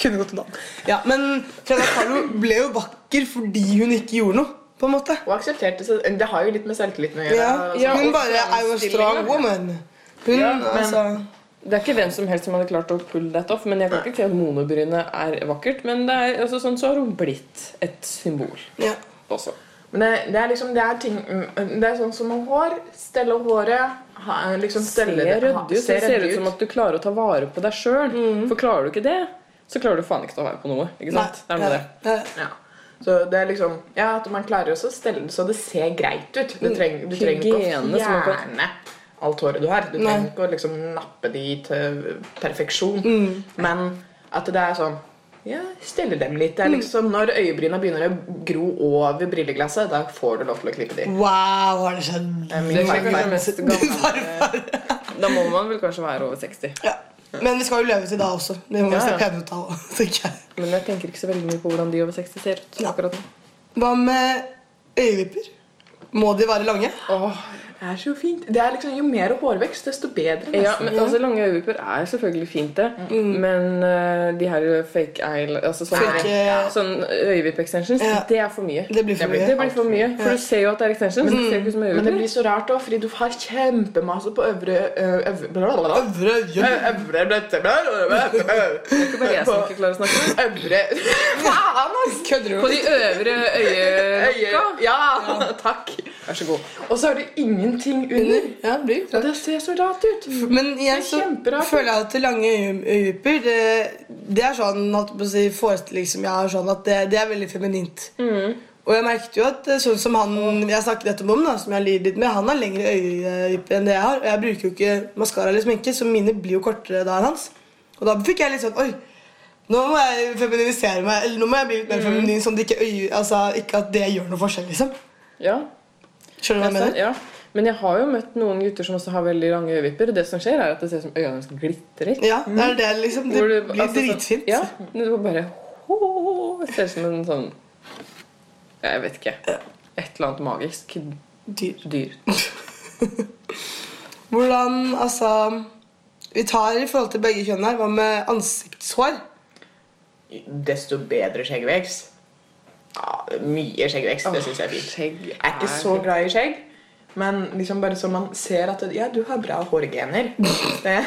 Speaker 2: Kunne gått en annen. Ja, men Freda Kahlo ble jo vakker fordi hun ikke gjorde noe, på en måte.
Speaker 4: Og aksepterte seg Det har jo litt med selvtilliten å gjøre.
Speaker 2: Ja,
Speaker 4: altså.
Speaker 3: Ja,
Speaker 2: hun
Speaker 3: og
Speaker 2: bare er jo en strong
Speaker 3: fremstillinga.
Speaker 2: woman. Hun,
Speaker 4: Ja, men-
Speaker 2: altså
Speaker 3: Det er ikke hvem som helst som hadde klart å pull that off. Men jeg kan ikke si at monobrynet er vakkert. Men det er, altså, sånn så har hun blitt et symbol
Speaker 2: ja.
Speaker 3: også.
Speaker 4: Men det, det er liksom Det er ting mm, Det er sånn som med hår. Stelle håret. Ha, liksom
Speaker 3: Ser
Speaker 4: stelle det-
Speaker 3: ryddig
Speaker 4: ha-
Speaker 3: ut. Det ser
Speaker 4: ryddig
Speaker 3: ut som at du klarer å ta vare på deg sjøl.
Speaker 2: Mhm.
Speaker 3: For klarer du ikke det, så klarer du faen ikke å ta vare på noe. Ikke sant? Det er noe med det.
Speaker 2: Ja, ja.
Speaker 4: Ja. Så det er liksom Ja, at man klarer også å stelle det så det ser greit ut. Du trenger, du trenger ikke
Speaker 3: Hygiene,
Speaker 4: å
Speaker 3: som man kan-
Speaker 4: fjerne alt håret du har. Du
Speaker 2: Nei.
Speaker 4: trenger ikke å liksom nappe de til perfeksjon.
Speaker 3: Mm.
Speaker 4: Men at det er sånn ja, stelle dem
Speaker 3: Mm.
Speaker 4: litt. Det er liksom Når øyebryna begynner å gro over brilleglasset, da får du lov til å klippe de.
Speaker 2: Wow, har det skjedd?
Speaker 4: Det er min
Speaker 3: Det er
Speaker 4: farfar.
Speaker 3: kanskje mest gammel. Da må man vel kanskje være over 60.
Speaker 2: Ja. Men vi skal jo leve til da også. Det må vi
Speaker 3: Ja,
Speaker 2: se
Speaker 3: ja.
Speaker 2: pene ut av, tenker jeg.
Speaker 3: Men jeg tenker ikke så veldig mye på hvordan de over 60 ser ut
Speaker 2: Ja.
Speaker 3: akkurat nå.
Speaker 2: Hva med øyevipper? Må de være lange?
Speaker 3: Åh,
Speaker 4: Det er så fint. Det er liksom Jo mer hårvekst, desto bedre.
Speaker 3: ja, men altså Lange øyevipper er selvfølgelig fint, det. Men eh, de her fake eyel... Altså sånne,
Speaker 2: Fake, eh,
Speaker 3: sånn øyevippe-extensions,
Speaker 2: Ja.
Speaker 3: det er for mye.
Speaker 2: Det blir for
Speaker 4: Det blir-
Speaker 2: mye.
Speaker 3: Det blir for mye, for du ser jo at det er extensions. Men, det ser jo ikke ut som
Speaker 4: Mm. Men det
Speaker 3: øyevipper.
Speaker 4: blir så rart, da, fordi du har kjempemasse på øvre ø- øvre- blablabla.
Speaker 2: Øvre øye.
Speaker 4: Øvre dette Øvre
Speaker 3: Det er bare jeg som ikke klarer å snakke.
Speaker 4: Faen, ass!
Speaker 2: Kødder du?
Speaker 3: På de øvre øyelokka.
Speaker 4: Ja, takk.
Speaker 3: Vær så god.
Speaker 4: Og så har du ingen
Speaker 6: ingenting under.
Speaker 2: Ja, det blir
Speaker 6: Og det ser så rart ut.
Speaker 2: Men igjen så
Speaker 6: kjemperart.
Speaker 2: føler jeg at det lange øy- øyepupper det, det er sånn holdt jeg på å si, forestilling som jeg har sånn at det, det er veldig feminint.
Speaker 3: Mm.
Speaker 2: Og jeg merket jo at eh, sånn som han jeg snakket nettopp om, da, som jeg har lidd litt med, han har lengre øyeøyepupper enn det jeg har. Og jeg bruker jo ikke maskara eller sminke, så mine blir jo kortere da enn hans. Og da fikk jeg litt sånn Oi, nå må jeg feminisere meg. Eller nå må jeg bli litt mer
Speaker 3: Mm.
Speaker 2: feminin, sånn at ikke, øye, altså, ikke at det gjør noe forskjell, liksom.
Speaker 3: Ja,
Speaker 2: Skjønner du hva jeg
Speaker 3: jeg
Speaker 2: mener?
Speaker 3: ser- ja. Men jeg har jo møtt noen gutter som også har veldig lange øyevipper. Og det som skjer, er at det ser ut som øynene deres glitrer.
Speaker 2: Ja, det er det, liksom. Det
Speaker 3: Hvor du-
Speaker 2: blir
Speaker 3: altså, sånn-
Speaker 2: dritfint.
Speaker 3: Ja, men du bare «Hå», Ser ut som en sånn ja, Jeg vet ikke. Et eller annet magisk
Speaker 2: Dyr.
Speaker 3: dyr.
Speaker 2: Hvordan, altså Vi tar i forhold til begge kjønn her. Hva med ansiktshår?
Speaker 4: Mm. Desto bedre skjeggvekst. Ja, mye skjeggvekst. Det syns jeg er fint.
Speaker 3: Skjegg
Speaker 4: Jeg er ikke så glad i skjegg, men liksom bare så man ser at Ja, du har bra hårgener. Det.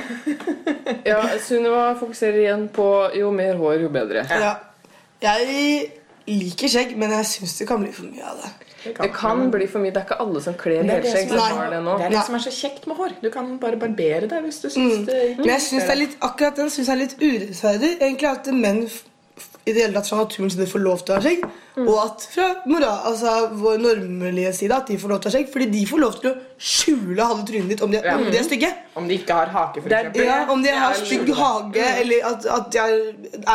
Speaker 3: Ja, Sunniva fokuserer igjen på jo mer hår, jo bedre.
Speaker 2: Ja. Jeg liker skjegg, men jeg syns det kan bli for mye av det.
Speaker 3: Det kan bli for mye. Det er ikke alle som kler
Speaker 4: Det er det
Speaker 3: helskjegg
Speaker 4: som
Speaker 3: som
Speaker 4: er-
Speaker 3: har det nå.
Speaker 4: Det er det som er så kjekt med hår. Du kan bare barbere deg hvis du syns det ikke
Speaker 2: Mm. Men jeg synes det er litt, akkurat den syns jeg er litt urettferdig. Egentlig at menn f- f- i det hele tatt fra naturen side får lov til å ha skjegg. Og at fra mora, altså vår normlige side at de får lov til å ha skjegg. Fordi de får lov til å skjule halve trynet ditt om de, om de er stygge.
Speaker 4: Om de ikke har hake, for
Speaker 3: Det er
Speaker 4: eksempel.
Speaker 3: det
Speaker 2: Ja, om de
Speaker 3: jeg
Speaker 2: har
Speaker 3: lurer
Speaker 2: stygg
Speaker 3: på.
Speaker 2: hage, eller at, at de er,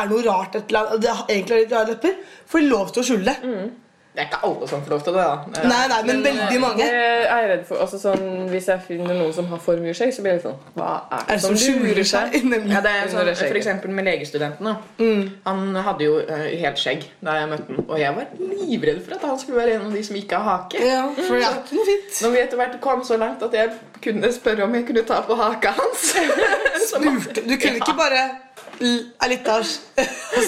Speaker 2: er noe rart et eller annet, at de har- egentlig har litt rare lepper, får de lov til å skjule det.
Speaker 4: Det er ikke alle som får lov til det, da.
Speaker 2: Nei, nei, men veldig mange.
Speaker 3: eh, Det er jeg redd for. Altså, sånn, hvis jeg finner noen som har for mye skjegg, så blir jeg litt sånn Hva er
Speaker 2: Er
Speaker 3: det
Speaker 2: det som skjuler seg?
Speaker 4: Ja,
Speaker 2: Nemlig. Mm.
Speaker 4: det er
Speaker 3: Under
Speaker 4: sånn,
Speaker 3: det skjegget.
Speaker 4: for eksempel med legestudenten. Da. Han hadde jo eh, helt skjegg da jeg møtte han, og jeg var livredd for at han skulle være en av de som ikke har hake.
Speaker 2: Ja, for det er ikke noe fint.
Speaker 4: Når vi etter hvert kom så langt at jeg kunne spørre om jeg kunne ta på haka hans så må-
Speaker 2: Lurte. Du kunne ikke bare l- er litt av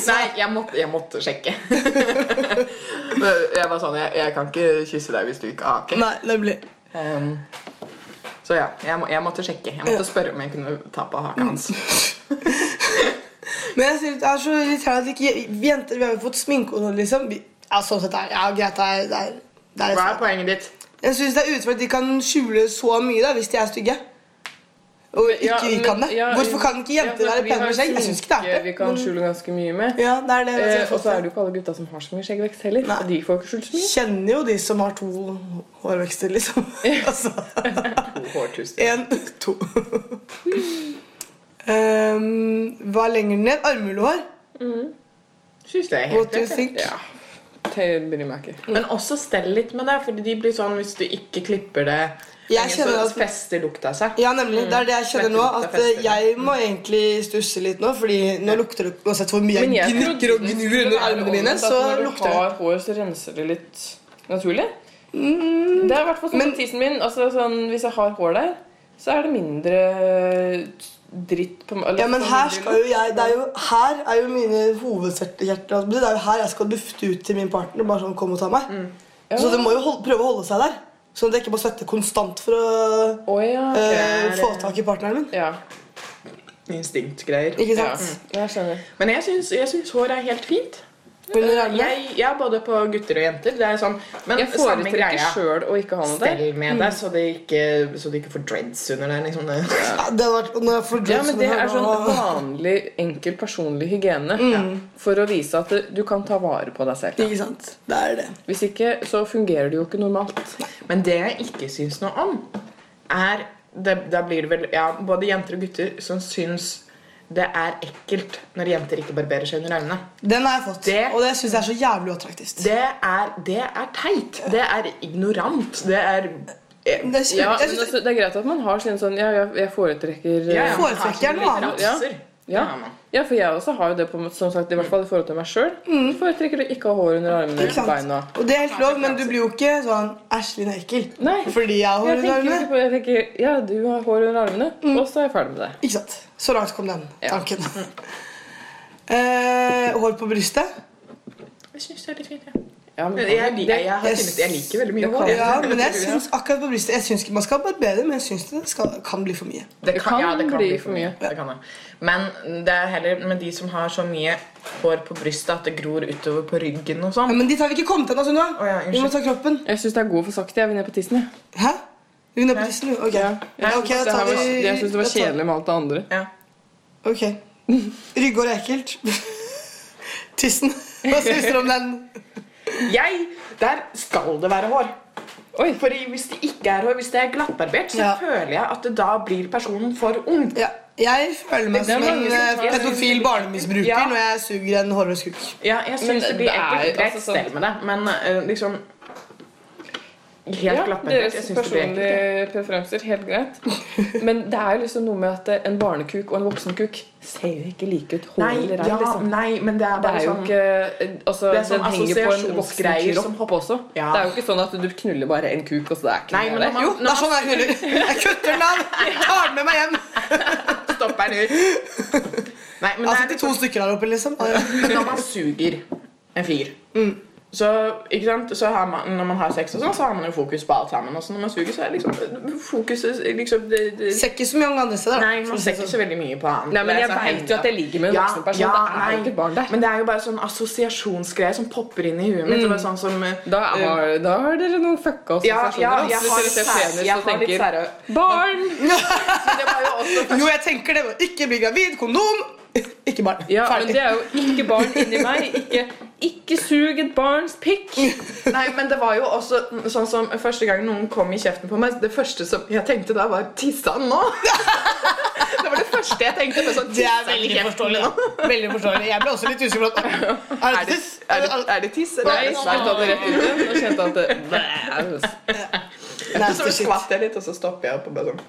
Speaker 4: Nei, jeg måtte, jeg måtte sjekke. jeg var sånn jeg, jeg kan ikke kysse deg hvis du ikke har hake.
Speaker 2: Nei, nemlig.
Speaker 4: Um, så ja, jeg, må, jeg måtte sjekke. Jeg måtte spørre om jeg kunne ta på haka hans.
Speaker 2: Men jeg synes det er så irriterende at ikke vi jenter Vi har jo fått sminke og sånn, liksom. Vi, ja, sånn sett er ja, greit. Det er, det er, det
Speaker 4: Hva
Speaker 2: er
Speaker 4: er poenget ditt?
Speaker 2: Jeg syns det er urettferdig at de kan skjule så mye da, hvis de er stygge. Og ikke
Speaker 3: Ja,
Speaker 2: vi
Speaker 3: men-
Speaker 2: kan det.
Speaker 3: ja,
Speaker 2: Hvorfor kan ikke jenter
Speaker 3: ja, for
Speaker 2: være
Speaker 3: vi
Speaker 2: pene
Speaker 3: har
Speaker 2: med skjegg? Jeg synes ikke det
Speaker 3: sminke
Speaker 2: er
Speaker 3: Vi
Speaker 2: det.
Speaker 3: kan skjule ganske mye med.
Speaker 2: Ja, det er det. jeg
Speaker 3: Eh,
Speaker 2: synes
Speaker 3: og så er
Speaker 2: også.
Speaker 3: det jo ikke alle gutta som har så mye skjeggvekst heller.
Speaker 2: Nei.
Speaker 3: Og de får jo ikke skjult så mye.
Speaker 2: Kjenner jo de som har to hårvekster, liksom. altså, en, to. um, hva er lenger ned? Armhulehår?
Speaker 4: Syns det er
Speaker 2: What
Speaker 4: helt
Speaker 2: do you
Speaker 4: greit. jeg.
Speaker 2: think?
Speaker 3: Det bryr meg ikke.
Speaker 4: Men også stell litt med det, Fordi de blir sånn hvis du ikke klipper det
Speaker 2: Jeg
Speaker 4: lenge,
Speaker 2: kjenner
Speaker 4: så
Speaker 2: at-
Speaker 4: fester lukta seg.
Speaker 2: Ja, nemlig. Det er det jeg kjenner nå.
Speaker 3: Mm.
Speaker 2: At eh,
Speaker 4: Svettelukta fester.
Speaker 2: jeg må egentlig stusse litt nå, fordi nå lukter det uansett hvor mye jeg gnikker og gnur under armene mine, så lukter det.
Speaker 3: Når du har hår, så renser det litt naturlig. Det er i hvert fall sånn
Speaker 2: Mm. Men-
Speaker 3: med tissen min. Altså, sånn, hvis jeg har hår der, så er det mindre dritt på eller
Speaker 2: Ja, men
Speaker 3: sånn
Speaker 2: her
Speaker 3: mindre
Speaker 2: skal jo jeg Det er jo her er jo mine hovedhjerter. altså. Det er jo her jeg skal dufte ut til min partner. Bare sånn, kom og ta meg.
Speaker 3: Mm.
Speaker 2: Så det må jo holde, prøve å holde seg der. Sånn at jeg ikke må svette konstant for å
Speaker 3: Å ja.
Speaker 2: eh, få tak i partneren min.
Speaker 3: ja.
Speaker 4: Instinktgreier.
Speaker 2: Ikke
Speaker 3: ja.
Speaker 2: sant?
Speaker 3: Jeg skjønner.
Speaker 4: Men jeg syns, jeg syns hår er helt fint.
Speaker 3: Mm.
Speaker 2: Under armene.
Speaker 4: Jeg, ja, både på gutter og jenter. Det er sånn, men
Speaker 3: Jeg
Speaker 4: samme
Speaker 3: foretrekker
Speaker 4: greia.
Speaker 3: sjøl å ikke ha noe der.
Speaker 4: Stell med
Speaker 2: Mm.
Speaker 4: deg, så det ikke, så det ikke får dreads under der. Liksom. Det-
Speaker 2: Ja, det hadde vært, når jeg får
Speaker 3: Ja, men
Speaker 2: dreadsen
Speaker 3: Det
Speaker 2: her
Speaker 3: er sånn
Speaker 2: nå-
Speaker 3: vanlig, enkel personlig hygiene.
Speaker 2: Mm.
Speaker 3: For å vise at du kan ta vare på deg selv.
Speaker 2: Ikke sant? Det er det.
Speaker 3: Hvis ikke, så fungerer det jo ikke normalt.
Speaker 4: Men det jeg ikke syns noe om, er det, Da blir det vel ja, både jenter og gutter som syns det er ekkelt når jenter ikke barberer seg under armene.
Speaker 2: Den har jeg fått,
Speaker 4: Det-
Speaker 2: og det syns jeg er så jævlig attraktivt.
Speaker 4: Det er, det er teit. Det er ignorant. Det er eh,
Speaker 2: Men det er kjempe-
Speaker 3: Ja,
Speaker 2: jeg
Speaker 3: men
Speaker 2: synes-
Speaker 3: altså, Det er greit at man har sine sånn Ja, jeg, jeg foretrekker
Speaker 4: Ja, ja,
Speaker 3: eh,
Speaker 4: man har
Speaker 2: Foretrekker
Speaker 4: sine
Speaker 2: noe annet.
Speaker 4: preferanser.
Speaker 3: ja.
Speaker 4: Det har man.
Speaker 3: ja, for jeg også har jo det, på, en måte, som sagt, i hvert fall i forhold til meg sjøl. Foretrekker å ikke ha hår under armene
Speaker 2: Mm. Ikke
Speaker 3: eller
Speaker 2: sant?
Speaker 3: beina.
Speaker 2: Og det er helt lov, men du blir jo ikke sånn Æsj, Linn er ekkel.
Speaker 3: Nei.
Speaker 2: Fordi jeg har hår
Speaker 3: Jeg
Speaker 2: under
Speaker 3: tenker,
Speaker 2: armene. Mm.
Speaker 3: ikke på, jeg tenker Ja, du har hår under armene, og så er jeg ferdig med det.
Speaker 2: Ikke sant? Så langt kom den
Speaker 3: Ja.
Speaker 2: tanken. Eh, hår på brystet?
Speaker 4: Jeg syns det er litt fint, ja.
Speaker 3: Ja, men,
Speaker 4: Jeg, jeg, jeg, har
Speaker 2: Jeg
Speaker 4: funnet, jeg liker veldig mye hår.
Speaker 2: Ja, men jeg syns akkurat på brystet Jeg syns ikke man skal barbere, men jeg syns det skal, kan bli for mye.
Speaker 4: Det
Speaker 3: kan bli for mye.
Speaker 4: Det kan det. Men det er heller med de som har så mye hår på brystet at det gror utover på ryggen og
Speaker 2: Ja,
Speaker 4: sånn.
Speaker 2: men dit har vi ikke kommet ennå, Sunniva.
Speaker 4: Å ja, unnskyld.
Speaker 2: vi må ta kroppen.
Speaker 3: Jeg syns det er god for sakte. Jeg vil ned på tissen. jeg.
Speaker 2: Hæ? Hun er på tissen, hun? Ok. Nei, ok,
Speaker 3: Jeg
Speaker 2: da tar vi...
Speaker 3: syns det, her var- jeg synes det var
Speaker 2: da tar-
Speaker 3: kjedelig med alt det andre.
Speaker 4: Ja.
Speaker 2: Ok. Ryggård er ekkelt. Tissen. Hva syns dere om den?
Speaker 4: Jeg, Der skal det være hår.
Speaker 3: Oi.
Speaker 4: Fordi hvis det ikke er hår, hvis det er glattbarbert, så
Speaker 2: Ja.
Speaker 4: føler jeg at det da blir personen for ung.
Speaker 2: Ja, jeg føler meg
Speaker 3: Det er
Speaker 2: som en
Speaker 3: mange som
Speaker 2: eh,
Speaker 3: tar-
Speaker 2: pedofil barnemisbruker
Speaker 4: Ja.
Speaker 2: når jeg suger en hårløs kuk.
Speaker 4: Ja, jeg
Speaker 3: Men
Speaker 4: syns det blir
Speaker 3: det er
Speaker 4: ekkelt.
Speaker 3: jo-
Speaker 4: Greit,
Speaker 3: altså, sånn-
Speaker 4: stell med det, men eh, liksom Helt
Speaker 3: Ja,
Speaker 4: glattbarbert. Jeg
Speaker 3: deres
Speaker 4: syns det blir ekkelt.
Speaker 3: personlige preferanser, helt greit. Men det er jo liksom noe med at eh, en barnekuk og en voksenkuk ser jo ikke like ut. Hår
Speaker 4: Nei,
Speaker 3: eller ei,
Speaker 4: ja,
Speaker 3: liksom.
Speaker 4: nei, men det er
Speaker 3: Det
Speaker 4: bare
Speaker 3: er jo
Speaker 4: sånn
Speaker 3: ikke eh, Altså,
Speaker 4: Det er
Speaker 3: den
Speaker 4: sånn
Speaker 3: henger på en
Speaker 4: assosiasjonsgreier som
Speaker 3: voksenkropp også.
Speaker 4: Ja.
Speaker 3: Det er jo ikke sånn at du knuller bare en kuk, og så det er ikke
Speaker 4: Nei,
Speaker 3: noe
Speaker 4: men
Speaker 3: der.
Speaker 4: når man,
Speaker 2: Jo, det er sånn jeg knuller. Jeg kutter den av! Tar den med meg hjem.
Speaker 4: stopper den ut Nei, men det
Speaker 2: Altså
Speaker 4: er
Speaker 2: ikke to stykker der oppe, liksom.
Speaker 4: Men når man suger en fyr
Speaker 3: Mm.
Speaker 4: Så, ikke sant? så har man, når man har sex og sånn, så har man jo fokus på alt sammen. Og så når man suger, så er liksom fokuset liksom, det, det,
Speaker 2: Ser ikke så mye om andre steder. da.
Speaker 4: Nei, man ser ikke så veldig mye på annet.
Speaker 3: Nei, men
Speaker 4: Det er
Speaker 3: jeg
Speaker 4: så
Speaker 3: vet jo at jeg ligger med en
Speaker 4: Ja,
Speaker 3: voksen person.
Speaker 4: ja,
Speaker 3: det er jo
Speaker 4: nei.
Speaker 3: ikke et barn der.
Speaker 4: Men det er jo bare sånn assosiasjonsgreier som popper inn i huet mitt. og bare Sånn som, eh,
Speaker 3: Mm. Da har, da har dere noen fucka
Speaker 4: ja, ja,
Speaker 3: assosiasjoner.
Speaker 4: jeg har litt sære. Jeg har litt
Speaker 3: tenker,
Speaker 4: sære.
Speaker 3: Barn!
Speaker 4: Men det var jo også
Speaker 2: Jo, jeg tenker det. men Ikke bli gravid. Kondom. Ikke barn.
Speaker 3: Ja, men
Speaker 2: Ferdig.
Speaker 3: det er jo ikke barn inni meg. Ikke, ikke sug et barns pikk.
Speaker 4: Nei, men det var jo også sånn som første gang noen kom i kjeften på meg Det første som jeg tenkte da, var 'tissa han nå'? det var det første jeg tenkte. På, sånn,
Speaker 2: Det
Speaker 4: «Tissa
Speaker 2: er
Speaker 4: han i
Speaker 2: veldig
Speaker 4: kjeften
Speaker 2: forståelig.
Speaker 4: nå?»
Speaker 2: da. Veldig forståelig. Jeg ble også litt usikker. på at- Er det tiss?
Speaker 4: Er det, er det tiss, eller
Speaker 3: Nei,
Speaker 4: er det
Speaker 3: jeg
Speaker 4: svart?
Speaker 3: tok det rett ut. igjen, Og kjente at det, Bæ.
Speaker 4: Og
Speaker 2: Nasty
Speaker 4: så
Speaker 2: shit.
Speaker 4: skvatt jeg litt, og så stopper jeg opp og bare sånn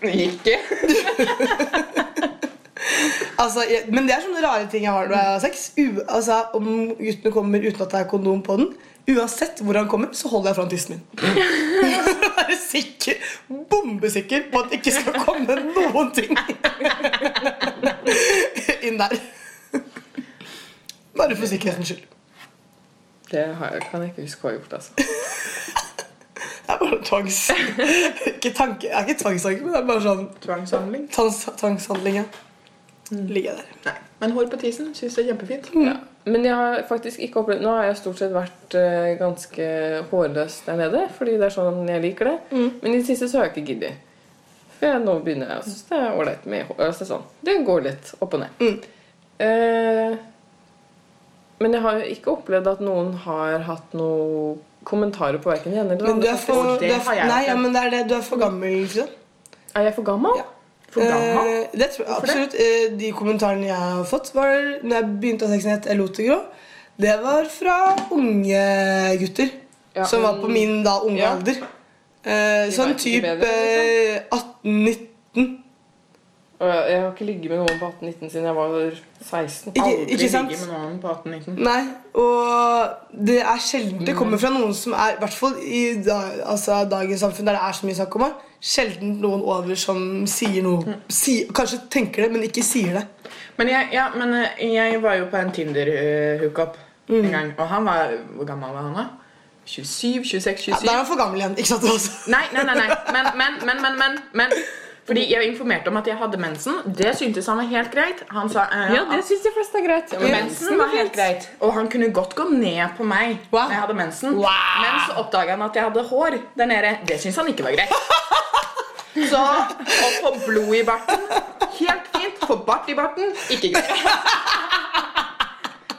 Speaker 4: Det gikk ikke.
Speaker 2: Altså, jeg, men det er sånne rare ting jeg har når jeg har sex. U altså, om guttene kommer uten at det er kondom på den, uansett hvor han kommer, så holder jeg foran tissen min. For å Være sikker, bombesikker på at det ikke skal komme noen ting inn der. Bare for sikkerhetens skyld.
Speaker 3: det har jeg, kan jeg ikke huske hva jeg har gjort. Altså.
Speaker 2: Det er bare tvangs... Ikke tanke, det er ikke tvangstanke, men det er bare sånn
Speaker 4: Tvangshandling.
Speaker 2: tvangs, tvangshandling. ja. Ligger jeg der.
Speaker 4: Nei. Men hår på tissen syns jeg er kjempefint.
Speaker 2: Mm.
Speaker 3: Ja. Men jeg har faktisk ikke opplevd Nå har jeg stort sett vært eh, ganske hårløs der nede, fordi det er sånn jeg liker det.
Speaker 2: Mm.
Speaker 3: Men i det siste så har jeg ikke giddet. For jeg, nå begynner jeg å synes det er ålreit med hår. Altså, sånn. Det går litt opp og ned.
Speaker 2: Mm.
Speaker 3: Eh, men jeg har jo ikke opplevd at noen har hatt noen kommentarer på verken det ene eller
Speaker 2: Men du
Speaker 3: det
Speaker 2: er
Speaker 3: andre.
Speaker 2: for, du er
Speaker 4: har
Speaker 2: for,
Speaker 4: jeg
Speaker 2: nei,
Speaker 4: opplevd.
Speaker 2: ja, men det er det, du er for gammel. Liksom.
Speaker 3: Er jeg for gammel?
Speaker 4: gammel?
Speaker 2: Eh, det tror jeg absolutt. Eh, de kommentarene jeg har fått, var når jeg begynte å ha sexenhet, jeg lot det grå. Det var fra unge gutter.
Speaker 3: Ja,
Speaker 2: som var
Speaker 3: men-
Speaker 2: på min da unge
Speaker 3: Ja.
Speaker 2: alder. Eh, sånn
Speaker 3: vet ikke
Speaker 2: type
Speaker 3: bedre, liksom.
Speaker 2: eh, 18-19.
Speaker 3: Og Jeg jeg har ikke ligget med noen på 18-19 siden jeg var 16.
Speaker 2: Ikke,
Speaker 4: Aldri
Speaker 2: ikke sant?
Speaker 4: ligge med noen på 18-19.
Speaker 2: Nei, og det er sjelden det
Speaker 3: Mm.
Speaker 2: kommer fra noen som er I hvert fall i da, altså, dagens samfunn der det er så mye snakk om det. Sjelden noen over som sier
Speaker 3: Mm.
Speaker 2: noe. Si, kanskje tenker det, men ikke sier det.
Speaker 4: Men jeg, ja, men eh, jeg var jo på en Tinder-hookup
Speaker 2: Mm.
Speaker 4: en gang, og han var Hvor gammel var han, da? 27? 26? 27?
Speaker 2: Ja, da er han for gammel igjen. ikke sant? Rosa?
Speaker 4: Nei, nei, nei, nei. Men, men, men, men, men, men. Fordi jeg informerte om at jeg hadde mensen. Det syntes han var helt greit. Han sa eh,
Speaker 3: Ja, det syns de fleste er greit. Ja,
Speaker 4: at
Speaker 3: men
Speaker 4: mensen var helt greit. Og han kunne godt gå ned på meg
Speaker 2: Wow.
Speaker 4: når jeg hadde mensen. Men så oppdaga han at jeg hadde hår der nede. Det syntes han ikke var greit. Så å få blod i barten Helt fint. Få bart i barten ikke greit.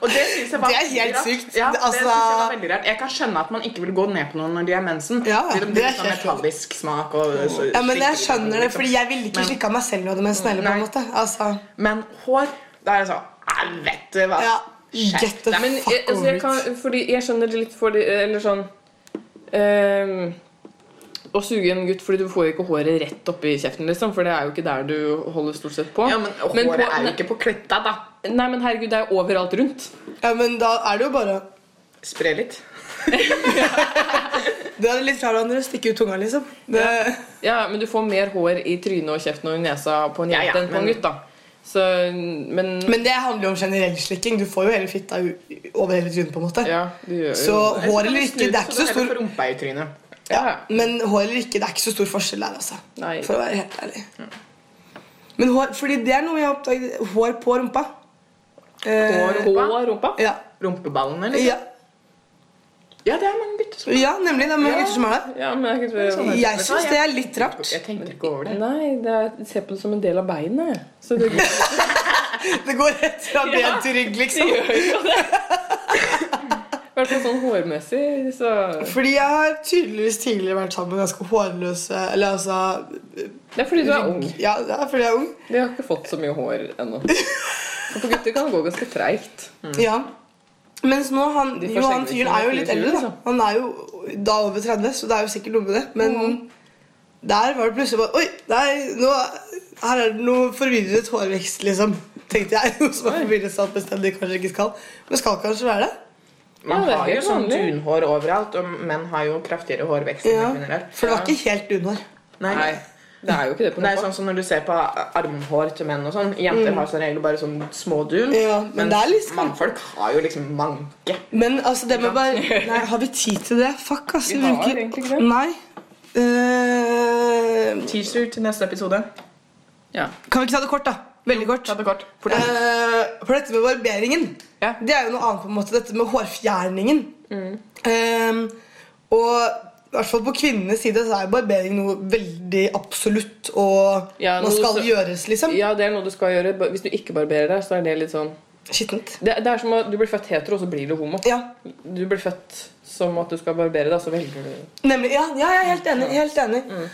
Speaker 4: Og det synes jeg var
Speaker 2: Det er helt
Speaker 4: veldig rart.
Speaker 2: sykt.
Speaker 4: Ja, det
Speaker 2: Altså-
Speaker 4: synes jeg var veldig rart. Jeg kan skjønne at man ikke vil gå ned på noen når de har mensen.
Speaker 2: Ja,
Speaker 4: fordi de
Speaker 2: det er
Speaker 4: driver sånn
Speaker 2: helt klart.
Speaker 4: metallisk smak og så-
Speaker 2: Ja, men Jeg
Speaker 4: slikker i
Speaker 2: skjønner det,
Speaker 4: liksom.
Speaker 2: fordi jeg ville ikke
Speaker 4: Men-
Speaker 2: slikke av meg selv når jeg hadde mensen. heller, på en
Speaker 4: Nei.
Speaker 2: måte. Altså,
Speaker 4: Men hår, da er det sånn Jeg vet du hva.
Speaker 2: ja,
Speaker 4: Skjerp
Speaker 2: Get the
Speaker 4: deg.
Speaker 3: Men jeg,
Speaker 2: fuck
Speaker 3: altså,
Speaker 2: over
Speaker 3: jeg,
Speaker 2: it.
Speaker 3: kan, fordi jeg skjønner det litt fordi Eller sånn ehm, Å suge en gutt fordi du får jo ikke håret rett oppi kjeften, liksom. For det er jo ikke der du holder stort sett på.
Speaker 4: Ja, men håret
Speaker 3: på-
Speaker 4: er jo ikke på kletta, da.
Speaker 3: Nei, men herregud, det er jo overalt rundt.
Speaker 2: Ja, men da er det jo bare
Speaker 4: Spre litt.
Speaker 2: Det er litt fra hverandre. Stikke ut tunga, liksom. Det,
Speaker 3: Ja, men du får mer hår i trynet og kjeften og i nesa på en
Speaker 4: Ja,
Speaker 3: jente
Speaker 4: ja,
Speaker 3: enn på en
Speaker 4: men-
Speaker 3: gutt, da. Så, men,
Speaker 2: Men det handler jo om generell slikking. Du får jo hele fitta u- over hele trynet. på en måte.
Speaker 3: Ja, du gjør jo
Speaker 2: Så hår eller ikke, det er ikke så stor
Speaker 4: Eller rumpa i trynet.
Speaker 2: Ja,
Speaker 3: Ja.
Speaker 2: men hår eller ikke, det er ikke så stor forskjell der, altså.
Speaker 3: Nei.
Speaker 2: For å være helt ærlig. Men hår, fordi det er noe jeg har oppdaget. Hår på rumpa. Eh,
Speaker 3: Hår på rumpa?
Speaker 2: Ja.
Speaker 4: Rumpeballene,
Speaker 2: ja.
Speaker 4: liksom.
Speaker 5: Ja, det er mange gutter som
Speaker 2: Ja, nemlig. Det er mange
Speaker 5: Ja.
Speaker 2: gutter som er der.
Speaker 3: Ja, men jeg, kan ikke-
Speaker 2: Jeg syns det sånn er litt rart.
Speaker 5: Jeg tenker ikke over det.
Speaker 3: Nei, det er, jeg ser på det som en del av beinet. jeg. Så det,
Speaker 2: Det går rett fra ben til rygg,
Speaker 3: det
Speaker 2: liksom.
Speaker 3: gjør jo det. I hvert fall sånn hårmessig, så
Speaker 2: Fordi jeg har tydeligvis tidligere vært sammen med ganske hårløse Eller altså
Speaker 3: Det er fordi du er ung.
Speaker 2: Ja, det er fordi jeg er ung.
Speaker 3: Vi har ikke fått så mye hår ennå. For på gutter kan det gå ganske treigt.
Speaker 2: Ja. Mens nå, han,
Speaker 3: De får
Speaker 2: jo, han fyren
Speaker 3: skjegg hvis de
Speaker 2: er jo
Speaker 3: er
Speaker 2: litt
Speaker 3: 24,
Speaker 2: eldre, da. Han er jo da over 30, så det er jo sikkert noe med det. Men der var det plutselig bare Oi, nei, nå, her er det noe forvirret hårvekst, liksom. Tenkte jeg. Noe som er forvirret satt bestandig, kanskje ikke skal. Men skal kanskje være det.
Speaker 5: Man
Speaker 3: Ja, det er
Speaker 5: har jo
Speaker 3: helt
Speaker 5: sånn
Speaker 3: vanlig.
Speaker 5: dunhår overalt, og menn har jo kraftigere hårvekst
Speaker 2: Ja.
Speaker 5: enn kvinner har.
Speaker 2: For det var ikke helt dunhår.
Speaker 5: Nei.
Speaker 3: Nei, det er jo ikke det på
Speaker 5: Det er
Speaker 3: noen.
Speaker 5: sånn som når du ser på armhår til menn og sånn. Jenter har som regel bare sånn små dun.
Speaker 2: Mm. Ja, men
Speaker 5: mens
Speaker 2: det er litt skamp-
Speaker 5: mannfolk har jo liksom manke.
Speaker 2: Men altså, det med bare Nei, har vi tid til det? Fuck, ass.
Speaker 3: Vi har egentlig ikke det.
Speaker 2: Nei. Eh,
Speaker 5: Teaser til neste episode.
Speaker 3: Ja.
Speaker 2: kan vi ikke ta det kort, da? Veldig kort.
Speaker 5: Ta det kort. Fort.
Speaker 2: Eh, for dette med barberingen
Speaker 5: Ja.
Speaker 2: Det er jo noe annet på en måte Dette med hårfjerningen
Speaker 3: Mm.
Speaker 2: Eh, Og i hvert fall på kvinnenes side Så er jo barbering noe veldig absolutt Og
Speaker 3: Ja,
Speaker 2: man
Speaker 3: noe
Speaker 2: skal
Speaker 3: så-
Speaker 2: gjøres liksom
Speaker 3: ja, det er noe du skal gjøre. Ba- Hvis du ikke barberer deg, så er det litt sånn
Speaker 2: Skittent
Speaker 3: Det, det er som at du blir født hetero, og så blir du homo.
Speaker 2: ja.
Speaker 3: Du blir født som at du skal barbere deg, så velger du
Speaker 2: Nemlig, ja, ja, jeg er helt enig, helt enig. Eh,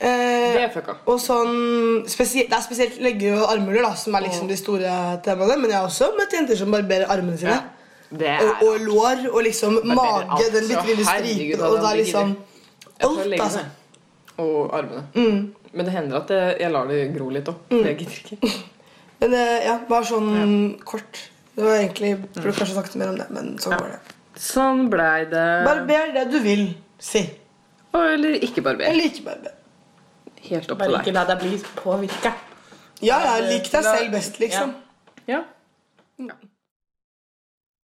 Speaker 3: Mm. Det er fucka.
Speaker 2: Og sånn, spesie- det er spesielt legger og armhuler da, som er liksom
Speaker 3: Mm.
Speaker 2: de store temaene. Men jeg har også møtt jenter som barberer armene sine.
Speaker 5: Det er
Speaker 2: Og, og lår og liksom
Speaker 5: Barberer
Speaker 2: mage,
Speaker 5: alt,
Speaker 2: den
Speaker 5: så
Speaker 2: bitte lille
Speaker 3: herregud,
Speaker 2: stripen
Speaker 3: hva
Speaker 2: og
Speaker 3: det
Speaker 2: da
Speaker 3: blir
Speaker 2: liksom
Speaker 3: Jeg tar
Speaker 2: Alt,
Speaker 3: leggene
Speaker 2: altså. Mm.
Speaker 3: og armene. Men det hender at jeg, jeg lar det gro litt òg. Jeg gidder ikke.
Speaker 2: Men eh, ja, bare sånn kort. Det var egentlig,
Speaker 3: Mm.
Speaker 2: Burde kanskje snakket mer om det, men sånn går det.
Speaker 3: Sånn blei det.
Speaker 2: Barber det du vil, si.
Speaker 3: Eller ikke barber.
Speaker 2: Eller ikke barber.
Speaker 3: Helt opp til
Speaker 5: Bare ikke
Speaker 3: deg.
Speaker 5: la deg bli påvirka.
Speaker 2: Ja, ja, lik deg selv best, liksom.
Speaker 3: Ja.